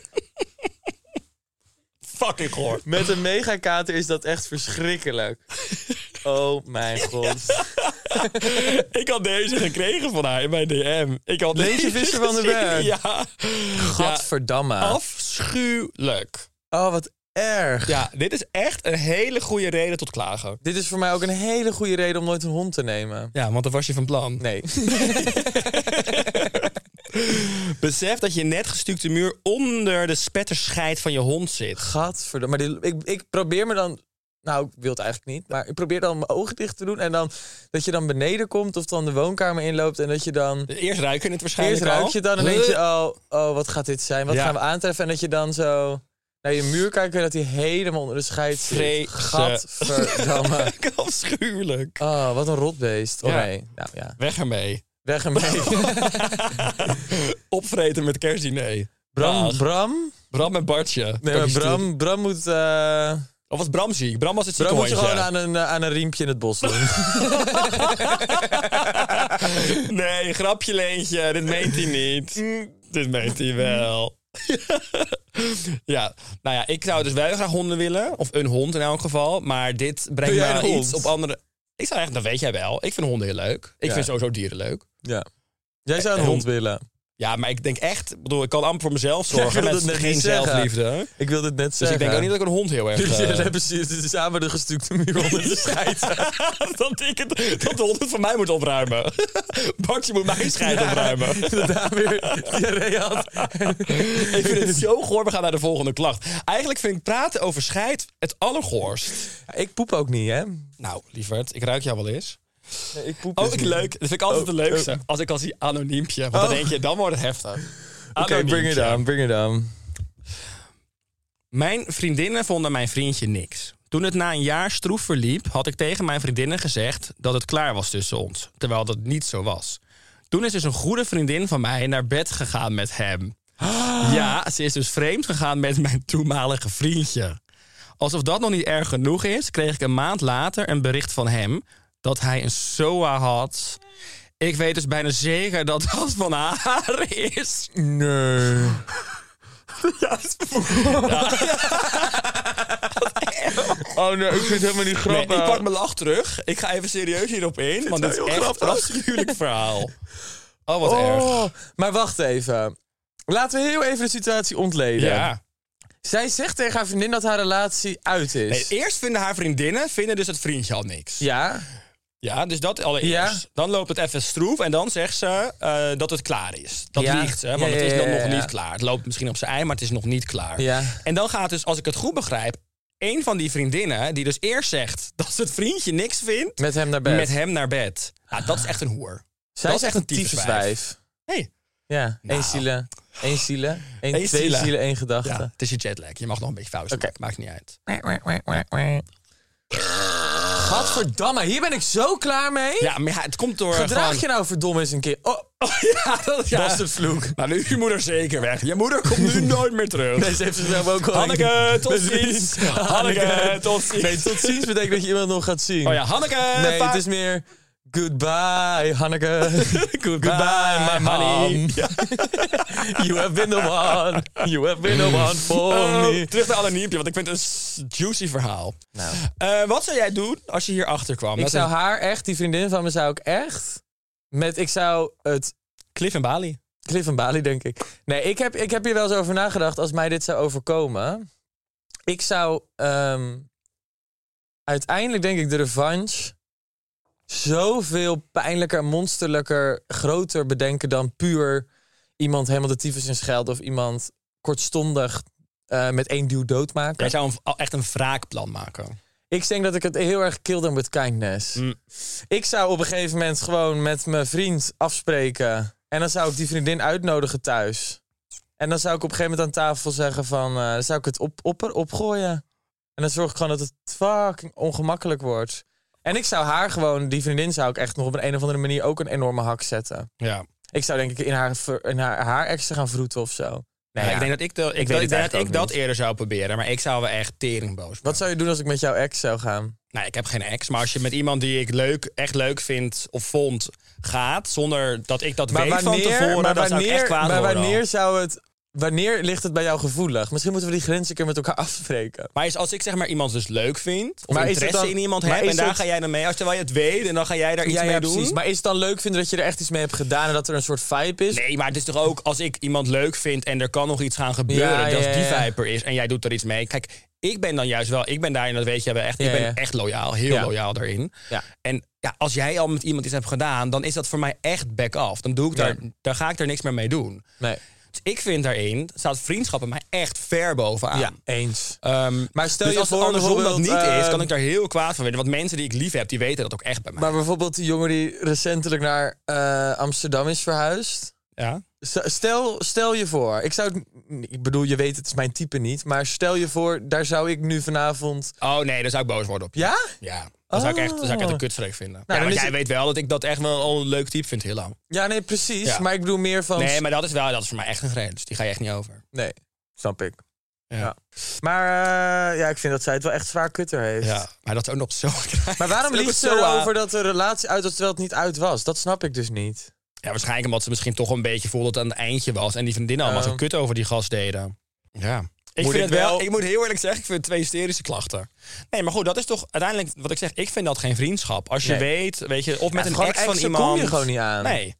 Fucking goor.
Met een megakater is dat echt verschrikkelijk. Oh *laughs* mijn god.
Ik had deze gekregen van haar in mijn DM. Ik had
Leentje
deze
Visser van den
gezien.
Berg.
*laughs* Ja.
Gadverdamme.
Ja, afschuwelijk.
Oh, wat erg.
Ja, dit is echt een hele goede reden tot klagen.
Dit is voor mij ook een hele goede reden om nooit een hond te nemen.
Ja, want dan was je van plan.
Nee.
*laughs* Besef dat je net gestukte muur onder de spetterscheid van je hond zit.
Gadverdamme. Maar die- ik, ik probeer me dan... Nou, ik wil het eigenlijk niet. Maar ik probeer dan mijn ogen dicht te doen. En dan dat je dan beneden komt of dan de woonkamer inloopt. En dat je dan...
Eerst ruik je het waarschijnlijk
Eerst ruik
al.
je het dan en
Huh?
denk je...
*laughs*
Oh, oh, wat gaat dit zijn? Wat
Ja.
gaan we aantreffen? En dat je dan zo naar je muur kijkt... en dat die helemaal onder de scheid zit.
Vrees- *laughs*
Gadverdamme.
Afschuwelijk.
Oh, wat een rotbeest. Oh
Ja.
nee. Nou ja,
Weg *laughs* ermee.
weg ermee.
Opvreten met kerstdiner.
Bram,
Dag.
Bram...
Bram en Bartje.
Nee, maar Bram, Bram moet... eh,
Of was Bram ziek? Bram was het zieke
Bram moet je
hondje.
gewoon aan een, eh, aan een riempje in het bos doen.
*laughs* *laughs* Nee, grapje Leentje. Dit meent hij niet.
Mm.
Dit meent hij wel. *laughs* ja, nou ja, ik zou dus wel graag honden willen. Of een hond in elk geval. Maar dit brengt
Wil jij
me
een hond?
iets op andere... Ik zou echt, dat weet jij wel. Ik vind honden heel leuk. Ik
Ja.
vind sowieso dieren leuk.
ja. Jij zou een
Eh,
hond willen.
Ja, maar ik denk echt, ik bedoel, ik kan amper voor mezelf
Ik
zorgen
wil
met
het net
geen
niet zeggen.
zelfliefde.
Ik wilde het net Dus
Dus ik denk ook niet dat ik een hond heel
*laughs*
erg... *laughs*
Jullie
eh,
hebben ze- ze- samen de gestukte muur onder
*laughs*
de scheid.
dat ik het, dat de hond het van mij moet opruimen. *laughs* Bartje moet
*laughs*
mijn scheid opruimen.
Dat daar weer diarree had.
*laughs* Ik vind *laughs* het zo goor. We gaan naar de volgende klacht. Eigenlijk vind ik praten over scheid het allergoorst.
Ik poep ook niet, hè?
Nou, lieverd, ik ruik jou wel eens.
Nee, ik poep
Oh,
dus
ik
niet.
leuk. Dat vind ik altijd
Oh,
de leukste.
oh.
Als ik als die anoniempje. Want dan
Oh.
denk je, dan wordt het heftig.
Oké, bring it on, bring it on.
Mijn vriendinnen vonden mijn vriendje niks. Toen het na een jaar stroef verliep, had ik tegen mijn vriendinnen gezegd dat het klaar was tussen ons, terwijl dat niet zo was. Toen is dus een goede vriendin van mij naar bed gegaan met hem.
*gasps*
Ja, ze is dus vreemd gegaan met mijn toenmalige vriendje. Alsof dat nog niet erg genoeg is, kreeg ik een maand later een bericht van hem dat hij een SOA had. Ik weet dus bijna zeker dat dat van haar is.
*laughs* Nee. *laughs* Oh nee, ik vind het helemaal niet grappig.
Nee, ik pak mijn lach terug. Ik ga even serieus hierop in, want dit is
wel
echt
heel
een
grappig.
afschuwelijk verhaal. Oh, wat
oh,
erg.
Maar wacht even. Laten we heel even de situatie ontleden.
Ja.
Zij zegt tegen haar vriendin dat haar relatie uit is.
Nee, eerst vinden haar vriendinnen, vinden dus het vriendje al niks.
Ja,
Ja, dus dat allereerst.
Ja.
Dan loopt het even stroef en dan zegt ze eh, dat het klaar is. Dat
Ja.
liegt ze,
Ja,
want
ja,
het is
ja,
dan
ja,
nog
ja.
niet klaar. Het loopt misschien op zijn ei, maar het is nog niet klaar.
Ja.
En dan gaat dus, als ik het goed begrijp, een van die vriendinnen... die dus eerst zegt dat ze het vriendje niks vindt...
met hem naar bed.
met hem naar bed. Nou, dat is echt een hoer.
Zij
dat
is echt een tyfuswijf.
Hey.
Ja, één zielen. Één zielen. Één,
Eén
twee
zielen.
zielen, één gedachte.
Ja, het is je jetlag. Je mag nog een beetje fouten
Oké.
maken. Maakt niet uit.
Gadverdamme, hier ben ik zo klaar mee.
Ja, maar ja, het komt door
Gedraag
gewoon...
je nou verdomme eens een keer. *laughs* Oh,
Oh, ja, dat ja.
Bastardvloek.
Nou, nu is je moeder zeker weg. Je moeder komt
*laughs*
nu nooit meer terug.
nee, ze heeft zichzelf ook al...
Hanneke,
*laughs*
tot ziens. Hanneke, tot ziens.
Nee, tot ziens betekent dat je iemand nog gaat zien.
Oh ja, Hanneke.
Nee,
pa-
het is meer... Goodbye, *laughs* Hanneke.
Goodbye,
Goodbye, my
honey.
mom. you have been the one. You have been the one for
Oh,
me.
terug naar Anoniempje, want ik vind het een s- juicy verhaal. Eh, wat zou jij doen als je hier achter kwam?
Nou. Ik
Dat
zou
is
haar echt, die vriendin van me zou ik echt... Met, ik zou het
Cliff en Bali.
Cliff en Bali, denk ik. Nee, ik heb, ik heb hier wel eens over nagedacht als mij dit zou overkomen. Ik zou ehm, uiteindelijk, denk ik, de revanche zoveel pijnlijker, monsterlijker, groter bedenken dan puur iemand helemaal de tyfus in schelden of iemand kortstondig eh, met één duw doodmaken.
Jij zou een- al echt een wraakplan maken.
Ik denk dat ik het heel erg kill them with kindness.
Mm.
Ik zou op een gegeven moment gewoon met mijn vriend afspreken. En dan zou ik die vriendin uitnodigen thuis. En dan zou ik op een gegeven moment aan tafel zeggen van... eh, dan zou ik het op, op, opgooien. En dan zorg ik gewoon dat het fucking ongemakkelijk wordt. En ik zou haar gewoon, die vriendin zou ik echt nog op een, een of andere manier ook een enorme hak zetten.
Ja.
Ik zou denk ik in haar, ver- in haar, haar extra gaan vroeten of zo. Nou
Nee,
ja.
Ik denk dat ik, de, ik,
weet
dat,
het
ik, denk dat,
eigenlijk
ik
ook
dat
niet.
eerder zou proberen, maar ik zou wel echt teringboos
Wat zou je doen als ik met jouw ex zou gaan?
Nou, ik heb geen ex, maar als je met iemand die ik leuk, echt leuk vind of vond gaat, zonder dat ik dat weet van tevoren,
maar
dan zou ik echt
wanneer-
kwaad
maar
worden al.
wanneer zou het... Wanneer ligt het bij jou gevoelig? Misschien moeten we die grens een keer met elkaar *laughs* afspreken.
Maar is als ik zeg maar iemand dus leuk vind, of
Maar is het
interesse
dan-
in iemand
maar
heb,
is
en daar
het-
ga jij dan mee, als terwijl je het weet, en dan ga jij daar iets mee doen.
Maar is het dan leuk vinden dat je er echt iets mee hebt gedaan... en dat er een soort vibe is?
Nee, maar het is toch ook als ik iemand leuk vind en er kan nog iets gaan gebeuren,
Ja,
dat
ja,
die
ja.
vijper is en jij doet er iets mee. Kijk, ik ben dan juist wel, ik ben daarin, dat weet je wel echt, ik
Ja,
ben
ja.
echt loyaal, heel
Ja.
loyaal daarin.
Ja.
En ja, als jij al met iemand iets hebt gedaan, dan is dat voor mij echt back off. Dan doe ik daar,
Ja.
daar ga ik daar niks meer mee doen.
Nee.
Dus ik vind daarin, staat vriendschappen mij echt ver bovenaan.
Ja, eens.
Ah. Ehm,
Maar stel
dus
je
als
voor
andersom dat niet
bijvoorbeeld,
is,
eh,
kan ik daar heel kwaad van worden. Want mensen die ik lief heb, die weten dat ook echt bij mij.
Maar bijvoorbeeld die jongen die recentelijk naar eh, Amsterdam is verhuisd.
ja?
S- Stel, stel je voor, ik zou, het- ik bedoel, je weet het is mijn type niet, maar stel je voor, daar zou ik nu vanavond,
Oh nee, dan zou ik boos worden op je.
ja,
Ja, dan zou ik echt, dan zou ik echt een kutstreek vinden. ja,
Oh. Nou, dan
want
is
jij
het-
weet wel dat ik dat echt wel al een leuk type vind, heel lang.
ja, nee, precies,
Ja.
maar ik bedoel meer van,
Nee, maar dat is wel, dat is voor mij echt een grens. Die ga je echt niet over.
Nee, snap ik.
Ja.
Ja. Maar eh, ja, ik vind dat zij het wel echt zwaar kutter heeft.
Ja, maar dat is ook nog zo.
Maar
*laughs*
waarom
liep
liep ze erover dat de relatie uit was terwijl het niet uit was? Dat snap ik dus niet.
Ja, waarschijnlijk omdat ze misschien toch een beetje voelde dat het aan het eindje was. En die vriendinnen allemaal
Ja.
zo kut over die gast deden. Ja. Ik,
Moet
vind
ik
het wel,
wel-
ik moet heel eerlijk zeggen, ik vind het twee hysterische klachten. Nee, maar goed, dat is toch uiteindelijk wat ik zeg. Ik vind dat geen vriendschap. Als je
Nee.
weet, weet je, of met
Ja,
een
gewoon
ex van
exen
iemand.
kom je gewoon niet aan.
Nee.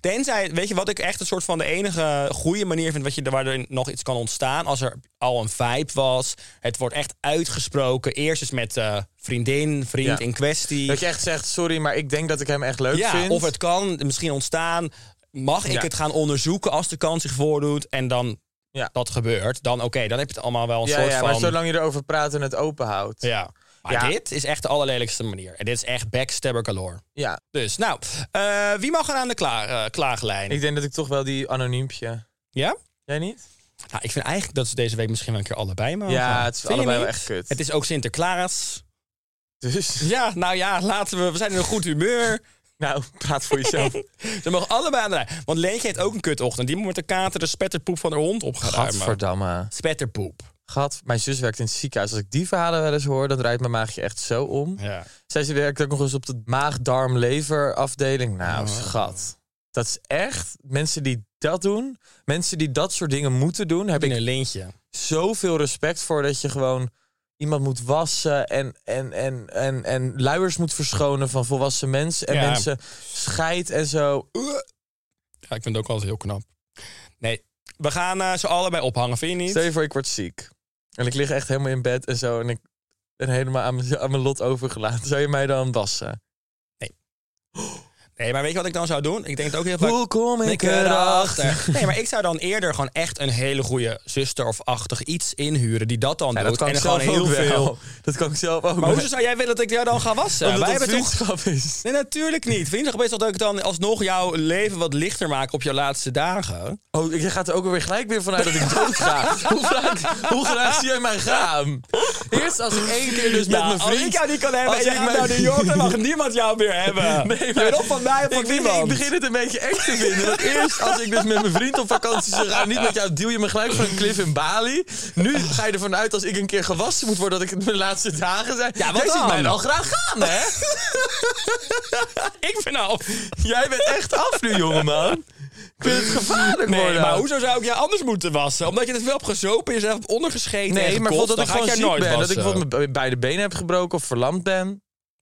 Tenzij, weet je wat ik echt een soort van de enige goede manier vind wat je, waar er nog iets kan ontstaan? Als er al een vibe was, het wordt echt uitgesproken. Eerst eens met eh, vriendin, vriend
Ja.
in kwestie.
Dat je echt zegt, sorry, maar ik denk dat ik hem echt leuk
ja,
vind.
of het kan misschien ontstaan. Mag ik
Ja.
het gaan onderzoeken als de kans zich voordoet en dan
Ja.
dat gebeurt? Dan oké, dan heb je het allemaal wel een
ja,
soort
ja,
van...
maar zolang je erover praat en het open houdt.
Ja. Maar
Ja.
dit is echt de allerlelijkste manier. En dit is echt backstabber galore.
Ja,
Dus, nou, eh, wie mag er aan de kla- eh, klaaglijn?
ik denk dat ik toch wel die anoniempje.
Ja?
Jij niet?
Nou, ik vind eigenlijk dat ze deze week misschien wel een keer allebei mogen.
Ja, het is
Vind je
allebei wel
niet?
echt kut.
Het is ook Sinterklaas.
Dus,
Ja, nou ja, laten we... We zijn in een goed humeur.
*laughs* nou, praat voor
*laughs*
jezelf.
Ze mogen allebei aan de lijn. Want Leentje heeft ook een kutochtend. Die moet met de kater de spetterpoep van haar hond opgeruimen.
Gadverdamme.
Spetterpoep.
Gat, mijn zus werkt in het ziekenhuis. Als ik die verhalen wel eens hoor, dan draait mijn maagje echt zo om.
Ja.
Zij ze werkt ook nog eens op de maag-darm-lever afdeling. Nou,
Oh.
schat. Dat is echt, mensen die dat doen, mensen die dat soort dingen moeten doen, heb
In
ik
een lintje.
zoveel respect voor dat je gewoon iemand moet wassen en, en, en, en, en luiers moet verschonen van volwassen mensen en
Ja.
mensen scheidt en zo.
Ja, ik vind het ook altijd heel knap. Nee, we gaan eh, ze allebei ophangen, vind je niet?
Stel je voor, ik word ziek. En ik lig echt helemaal in bed en zo. En ik ben helemaal aan mijn, aan mijn lot overgelaten. Zou je mij dan wassen?
Nee, maar weet je wat ik dan zou doen? Ik denk het ook heel vaak...
Hoe kom ik erachter?
Nee, maar ik zou dan eerder gewoon echt een hele goede zuster of achtig iets inhuren die dat dan
Ja,
doet.
dat kan
en
ik
gewoon
zelf
heel
ook
veel.
wel. Dat kan ik zelf ook
Maar
wel.
hoezo zou jij willen dat ik jou dan ga wassen?
Omdat
Wij
het
hebben toch...
vriendschap is.
Nee, natuurlijk niet. Vriendschap is dat ik dan alsnog jouw leven wat lichter maak op jouw laatste dagen.
*laughs* Oh, je gaat er ook weer gelijk weer vanuit dat ik dood
*laughs*
ga. hoe, graag, hoe graag zie jij mij gaan? Eerst als ik één
*laughs*
keer dus
Ja,
met
nou,
mijn vriend...
Als ik jou niet kan hebben en
als
je
ik
gaat
mijn-
naar New York, dan
*laughs*
mag niemand jou meer hebben.
Nee,
Je
maar-
bent of van mij of
ik,
van
begin-
niemand.
ik begin het een beetje eng te vinden. Want eerst, als ik dus met mijn vriend op vakantie zou gaan, niet met jou, duw je me gelijk van een cliff in Bali. Nu ga je ervan uit als ik een keer gewassen moet worden, dat ik het mijn laatste dagen zijn.
Ja, wat
Jij ziet
dan?
mij wel graag gaan, hè?
*laughs* Ik vind nou...
Jij bent echt af nu, jongeman. Ik vind het gevaarlijk
Nee,
worden.
maar hoezo zou ik jou anders moeten wassen? Omdat je het wel hebt gezopen en zelf hebt ondergescheten en
Nee, maar
gekocht,
bijvoorbeeld dat
dan
ik
ga
gewoon
ik jou nooit
ziek ben, dat ik
wassen.
bijvoorbeeld mijn beide benen heb gebroken of verlamd ben.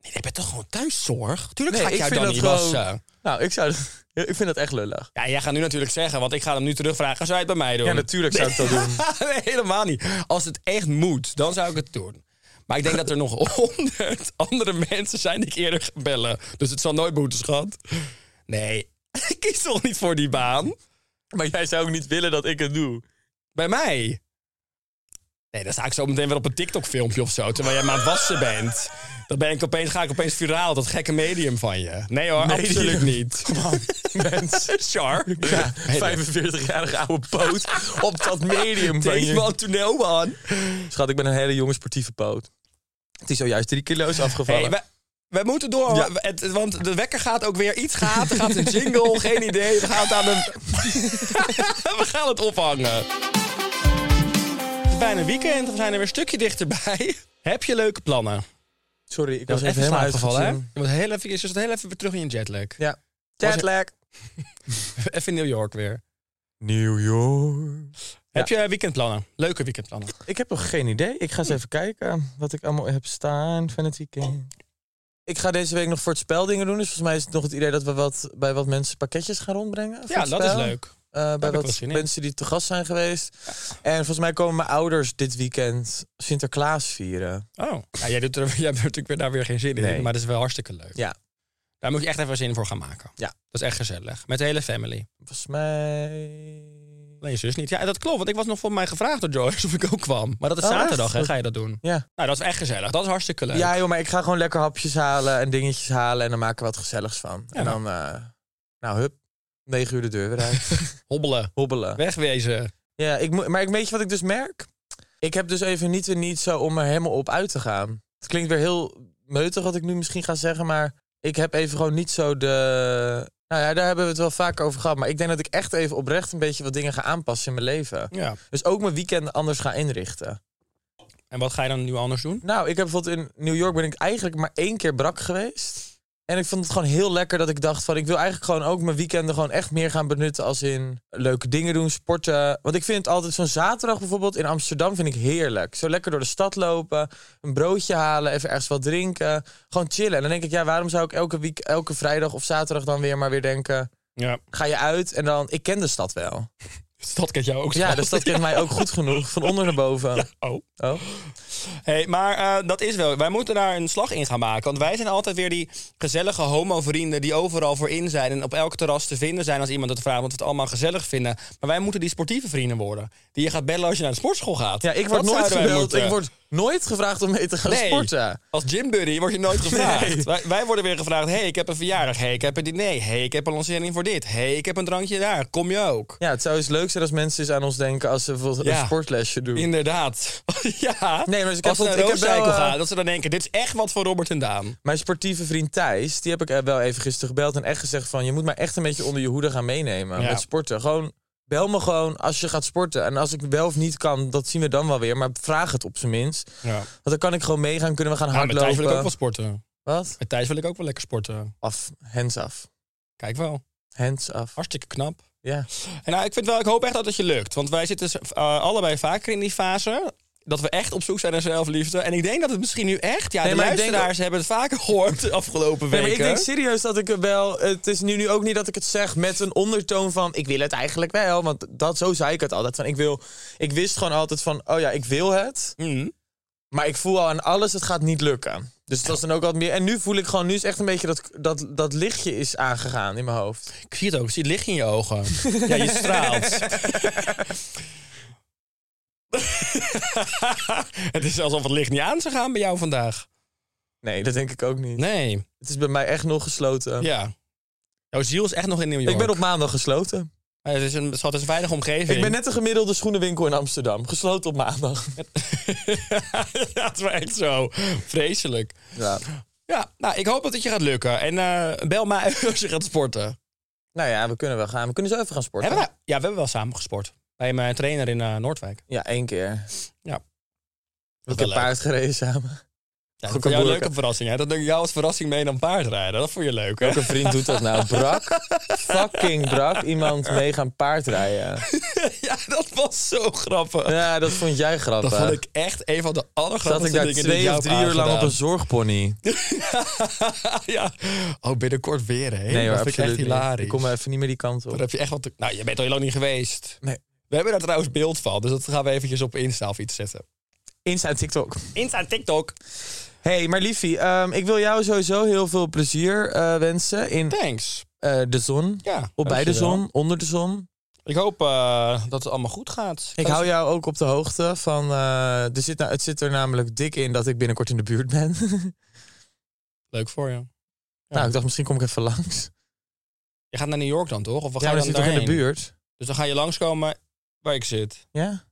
Nee, ik ben toch gewoon thuiszorg? Tuurlijk
Nee,
ga ik,
ik
jou
vind
dan niet
dat gewoon-
wassen.
Nou, ik zou... *laughs* Ik vind dat echt lullig.
Ja, jij gaat nu natuurlijk zeggen, want ik ga hem nu terugvragen. Zou je het bij mij doen?
Ja, natuurlijk zou ik dat doen.
*laughs* nee, helemaal niet. Als het echt moet, dan zou ik het doen. Maar ik denk dat er nog *laughs* honderd andere mensen zijn die ik eerder ga bellen. Dus het zal nooit boeten, schat. Nee, *laughs* ik kies toch niet voor die baan?
Maar jij zou ook niet *laughs* willen dat ik het
*laughs*
doe.
Bij mij? Nee, dan sta ik zo meteen weer op een TikTok-filmpje of zo. Terwijl jij maar aan het wassen bent. Dan ben ik opeens, ga ik opeens viraal, dat gekke medium van je. Nee hoor,
Medium.
absoluut
*laughs*
niet.
Mens.
Char.
Ja,
Nee, nee.
45-jarige oude poot op
*laughs*
dat medium van
Deze
je.
man to know, man.
Schat, ik ben een hele jonge sportieve poot. Het is zojuist drie kilo's afgevallen.
Hey, we, we moeten door,
Ja.
het, het- want de wekker gaat ook weer iets gaat. Er gaat een *laughs* jingle, geen idee. We gaan het aan de... *laughs* we gaan het ophangen. Het is bijna weekend, we zijn er weer een stukje dichterbij. Heb je leuke plannen?
Sorry, ik
Je was
was
even
even helemaal
slaapgevallen, hè?
uitgevallen.
Je was heel even, je zat heel even weer terug in je jetlag.
Ja.
Was-
Jetlag.
Even in New York weer.
New York.
Heb je weekendplannen? Leuke weekendplannen?
Ik heb nog geen idee. Ik ga eens even kijken wat ik allemaal heb staan van het weekend. Oh. Ik ga deze week nog voor het spel dingen doen. Dus volgens mij is het nog het idee dat we wat, bij wat mensen pakketjes gaan rondbrengen. voor
Ja,
het
dat is
spel.
leuk.
Eh, bij
ik wel
wat
zin in.
mensen die te gast zijn geweest. En volgens mij komen mijn ouders dit weekend Sinterklaas vieren.
Oh, ja, jij, doet er, *laughs* jij hebt er natuurlijk weer, daar weer geen zin
Nee.
in, maar dat is wel hartstikke leuk.
Ja.
Daar moet je echt even zin voor gaan maken.
Ja.
Dat is echt gezellig. Met de hele family.
Volgens mij...
Nee, je zus niet. Ja, dat klopt. Want ik was nog voor mij gevraagd door Joyce *laughs* of ik ook kwam. Maar dat is
Oh,
zaterdag,
echt?
hè? Ga je dat doen?
Ja.
Nou, dat is echt gezellig. Dat is hartstikke leuk.
ja, joh, maar ik ga gewoon lekker hapjes halen en dingetjes halen. En dan maken we wat gezelligs van. En dan, eh, nou, hup, negen uur de deur weer *laughs* uit.
Hobbelen.
Hobbelen.
Wegwezen.
Ja, ik, moet- maar ik weet je wat ik dus merk? Ik heb dus even niet en niet zo om er helemaal op uit te gaan. Het klinkt weer heel meutig wat ik nu misschien ga zeggen, maar ik heb even gewoon niet zo de... Nou ja, daar hebben we het wel vaak over gehad. Maar ik denk dat ik echt even oprecht een beetje wat dingen ga aanpassen in mijn leven.
Ja.
Dus ook mijn weekend anders ga inrichten.
En wat ga je dan nu anders doen?
Nou, ik heb bijvoorbeeld in New York ben ik eigenlijk maar één keer brak geweest. En ik vond het gewoon heel lekker dat ik dacht van... ik wil eigenlijk gewoon ook mijn weekenden gewoon echt meer gaan benutten... als in leuke dingen doen, sporten. Want ik vind het altijd zo'n zaterdag bijvoorbeeld in Amsterdam vind ik heerlijk. Zo lekker door de stad lopen, een broodje halen, even ergens wat drinken. Gewoon chillen. En dan denk ik, ja, waarom zou ik elke, week, elke vrijdag of zaterdag dan weer maar weer denken...
Ja.
ga je uit en dan... Ik ken de stad wel. Dus
Dat kent jou ook zo.
Ja, de stad kent mij ook goed genoeg. Van onder naar boven.
Oh.
Oh.
Hey, maar eh, dat is wel. Wij moeten daar een slag in gaan maken. Want wij zijn altijd weer die gezellige homo-vrienden die overal voor in zijn. En op elk terras te vinden zijn als iemand het vraagt. Want we het allemaal gezellig vinden. Maar wij moeten die sportieve vrienden worden. Die je gaat bellen als je naar de sportschool gaat.
Ja, ik word
Dat
nooit
zouden wij
gebeld.
moeten.
Ik word nooit gevraagd om mee te gaan
Nee.
sporten.
Als gymbuddy word je nooit gevraagd.
Nee.
Wij, wij worden weer gevraagd: hey, ik heb een verjaardag. hey, ik heb een diner. hey, ik heb een lancering voor dit. hey, ik heb een drankje daar. Kom je ook?
Ja, het zou eens leuk zijn als mensen eens aan ons denken als ze bijvoorbeeld
Ja.
een sportlesje doen.
Inderdaad. *laughs* ja.
Nee, maar dus ik heb
als ze
wel-
naar
ik heb
Roosdijk
wel, eh,
gaan, dat ze dan denken: dit is echt wat voor Robert en Daan.
Mijn sportieve vriend Thijs, die heb ik eh, wel even gisteren gebeld en echt gezegd van... je moet mij echt een beetje onder je hoede gaan meenemen
Ja.
met sporten. Gewoon, bel me gewoon als je gaat sporten. En als ik wel of niet kan, dat zien we dan wel weer. Maar vraag het op zijn minst.
Ja.
Want dan kan ik gewoon meegaan, kunnen we gaan
Ja, met Thijs wil ik ook
hardlopen.
wel sporten.
Wat?
Met Thijs wil ik ook wel lekker sporten.
Af, hands af.
Kijk wel.
Hands af.
Hartstikke knap.
Ja.
En nou, ik, vind wel, ik hoop echt dat het je lukt. Want wij zitten eh, allebei vaker in die fase. Dat we echt op zoek zijn naar zelfliefde. En ik denk dat het misschien nu echt... Ja,
Nee,
de
maar ik denk
luisteraars hebben het vaker gehoord de afgelopen
Nee,
weken.
maar ik denk serieus dat ik er wel. Het is nu, nu ook niet dat ik het zeg met een ondertoon van. Ik wil het eigenlijk wel. Want dat, zo zei ik het altijd. Van, ik, wil, ik wist gewoon altijd van. Oh ja, ik wil het.
Mm.
Maar ik voel al aan alles, het gaat niet lukken. Dus het was dan ook wat meer. En nu voel ik gewoon. Nu is echt een beetje dat, dat, dat lichtje is aangegaan in mijn hoofd.
Ik zie het ook. Ik zie het licht in je
*laughs*
ogen. ja, je straalt. het is alsof het licht niet aan zou gaan bij jou vandaag.
Nee, dat denk ik ook niet.
Nee.
Het is bij mij echt nog gesloten.
Ja. Jouw ziel is echt nog in New York.
Ik ben op maandag gesloten.
Eh, Het is een, schat, het is een veilige omgeving.
Ik ben net de gemiddelde schoenenwinkel in Amsterdam. Gesloten op maandag.
*laughs* dat is wel echt zo. Vreselijk.
Ja.
Ja, nou, ik hoop dat het je gaat lukken. En eh, bel mij *laughs* als je gaat sporten.
Nou ja, we kunnen wel gaan. We kunnen zo even gaan sporten.
Hebben we, ja, we hebben wel samen gesport. Bij mijn trainer in eh, Noordwijk.
Ja, één keer.
Ja.
Ik
wel
heb
leuk.
paard gereden samen.
Ja,
Ook
dat
een
vond jou een
moeilijke.
leuke verrassing. Hè? Dat denk ik jou als verrassing mee dan paardrijden. Dat vond je leuk, hè?
Welke vriend doet dat nou? Brak? Fucking brak. Iemand mee gaan paardrijden.
*laughs* ja, dat was zo grappig.
Ja, dat vond jij grappig.
Dat vond ik echt een van de
Zat
allergrappigste
ik daar
dingen die ik
twee
jou
of drie
heb
uur lang op een
aangedaan.
zorgpony?
*laughs* ja. Oh, binnenkort weer, hè?
Nee hoor,
dat vind ik
absoluut
echt
niet.
hilarisch.
Ik kom even niet meer die kant
Daar
op.
heb je echt wat... te- Nou, je bent al heel lang niet geweest.
Nee.
We hebben daar trouwens beeld van, dus dat gaan we eventjes op Insta of iets zetten.
Insta en TikTok.
Insta en TikTok.
hey, maar liefie, ehm, ik wil jou sowieso heel veel plezier eh, wensen in
Thanks.
eh, de zon.
Ja,
Op bij de
dankjewel.
zon, onder de zon.
Ik hoop eh, dat het allemaal goed gaat.
Ik hou jou ook op de hoogte van. eh, er zit nou, het zit er namelijk dik in dat ik binnenkort in de buurt ben. *laughs*
Leuk voor je.
Nou, ik dacht misschien kom ik even langs.
Je gaat naar New York dan, toch? Of wat
Ja,
ga
maar
je
dat
dan
zit toch in de
daarheen?
buurt?
Dus dan ga je langskomen waar ik zit.
Ja?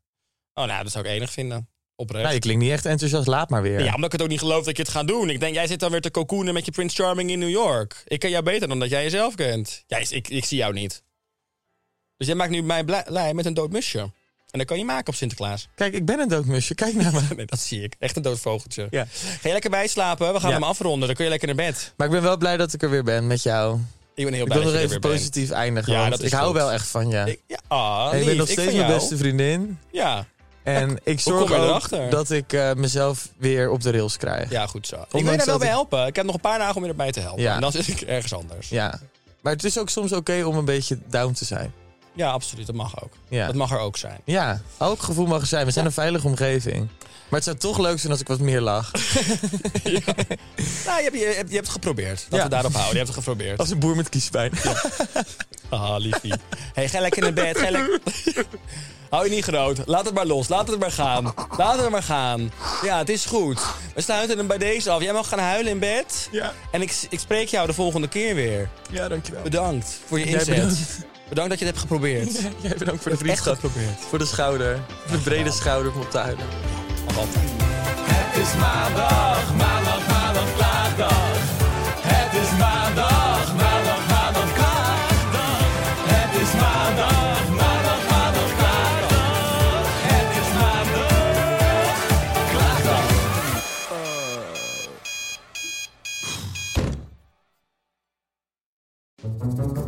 Oh, nou, dat zou ik enig vinden. Oprecht.
Nou, je klinkt niet echt enthousiast. Laat maar weer.
Ja, omdat ik het ook niet geloof dat je het gaat doen. Ik denk, jij zit dan weer te cocoonen met je Prince Charming in New York. Ik ken jou beter dan dat jij jezelf kent. Jij, is- ik, ik zie jou niet. Dus jij maakt nu mij blij, blij met een dood musje. En dat kan je maken op Sinterklaas. *laughs*
Kijk, ik ben een doodmusje. Kijk naar me.
Nee, dat zie ik. Echt een dood vogeltje.
Ja.
Ga je lekker bijslapen? We gaan
Ja.
hem afronden. Dan kun je lekker naar bed.
Maar ik ben wel blij dat ik er weer ben met jou.
Ik ben heel
Ik
blij
wil
dat
nog
je er
even
weer bent.
positief eindigen.
Ja,
want
dat is
ik hou
goed.
wel echt van je.
Ik, ja, ah,
En ik ben
lief.
nog
Ik
steeds
van
mijn
jou.
beste vriendin.
Ja,
En ik
kom
zorg
je
ook
erachter?
dat ik eh, mezelf weer op de rails krijg.
ja, goed zo. ik wil je daar
dat
wel bij
ik-
helpen. Ik heb nog een paar dagen om je erbij te helpen.
Ja.
En dan zit ik ergens anders.
Ja. Maar het is ook soms oké om een beetje down te zijn.
Ja, absoluut. Dat mag ook.
Ja.
Dat mag er ook zijn.
Ja, elk gevoel mag er zijn. We zijn een veilige omgeving. Maar het zou toch leuk zijn als ik wat meer
*laughs*
lach.
Nou, je hebt, je hebt, je hebt het geprobeerd. Laten
Ja.
we daarop houden. Je hebt het geprobeerd.
Als een boer met kiespijn. Oh,
Ah, liefie. *laughs* hey, ga lekker naar bed. Ga
*laughs*
lekker... Hou je niet groot. Laat het maar los. Laat het maar gaan. Laat het maar gaan. Ja, het is goed. We sluiten hem bij deze af. Jij mag gaan huilen in bed.
Ja.
En ik, ik spreek jou de volgende keer weer.
Ja, dankjewel.
Bedankt voor je
Jij
inzet.
bedankt.
Bedankt dat je het hebt geprobeerd.
Jij bedankt voor de
Echt
vriendschap.
geprobeerd.
Voor de schouder. Voor de brede schouder om op te huilen.
Nog altijd.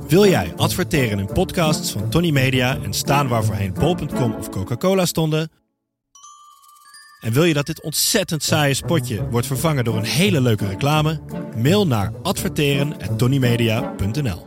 Wil jij adverteren in podcasts van Tony Media en staan waar voorheen bol.com of Coca-Cola stonden? En wil je dat dit ontzettend saaie spotje wordt vervangen door een hele leuke reclame? Mail naar adverteren@tonymedia.nl.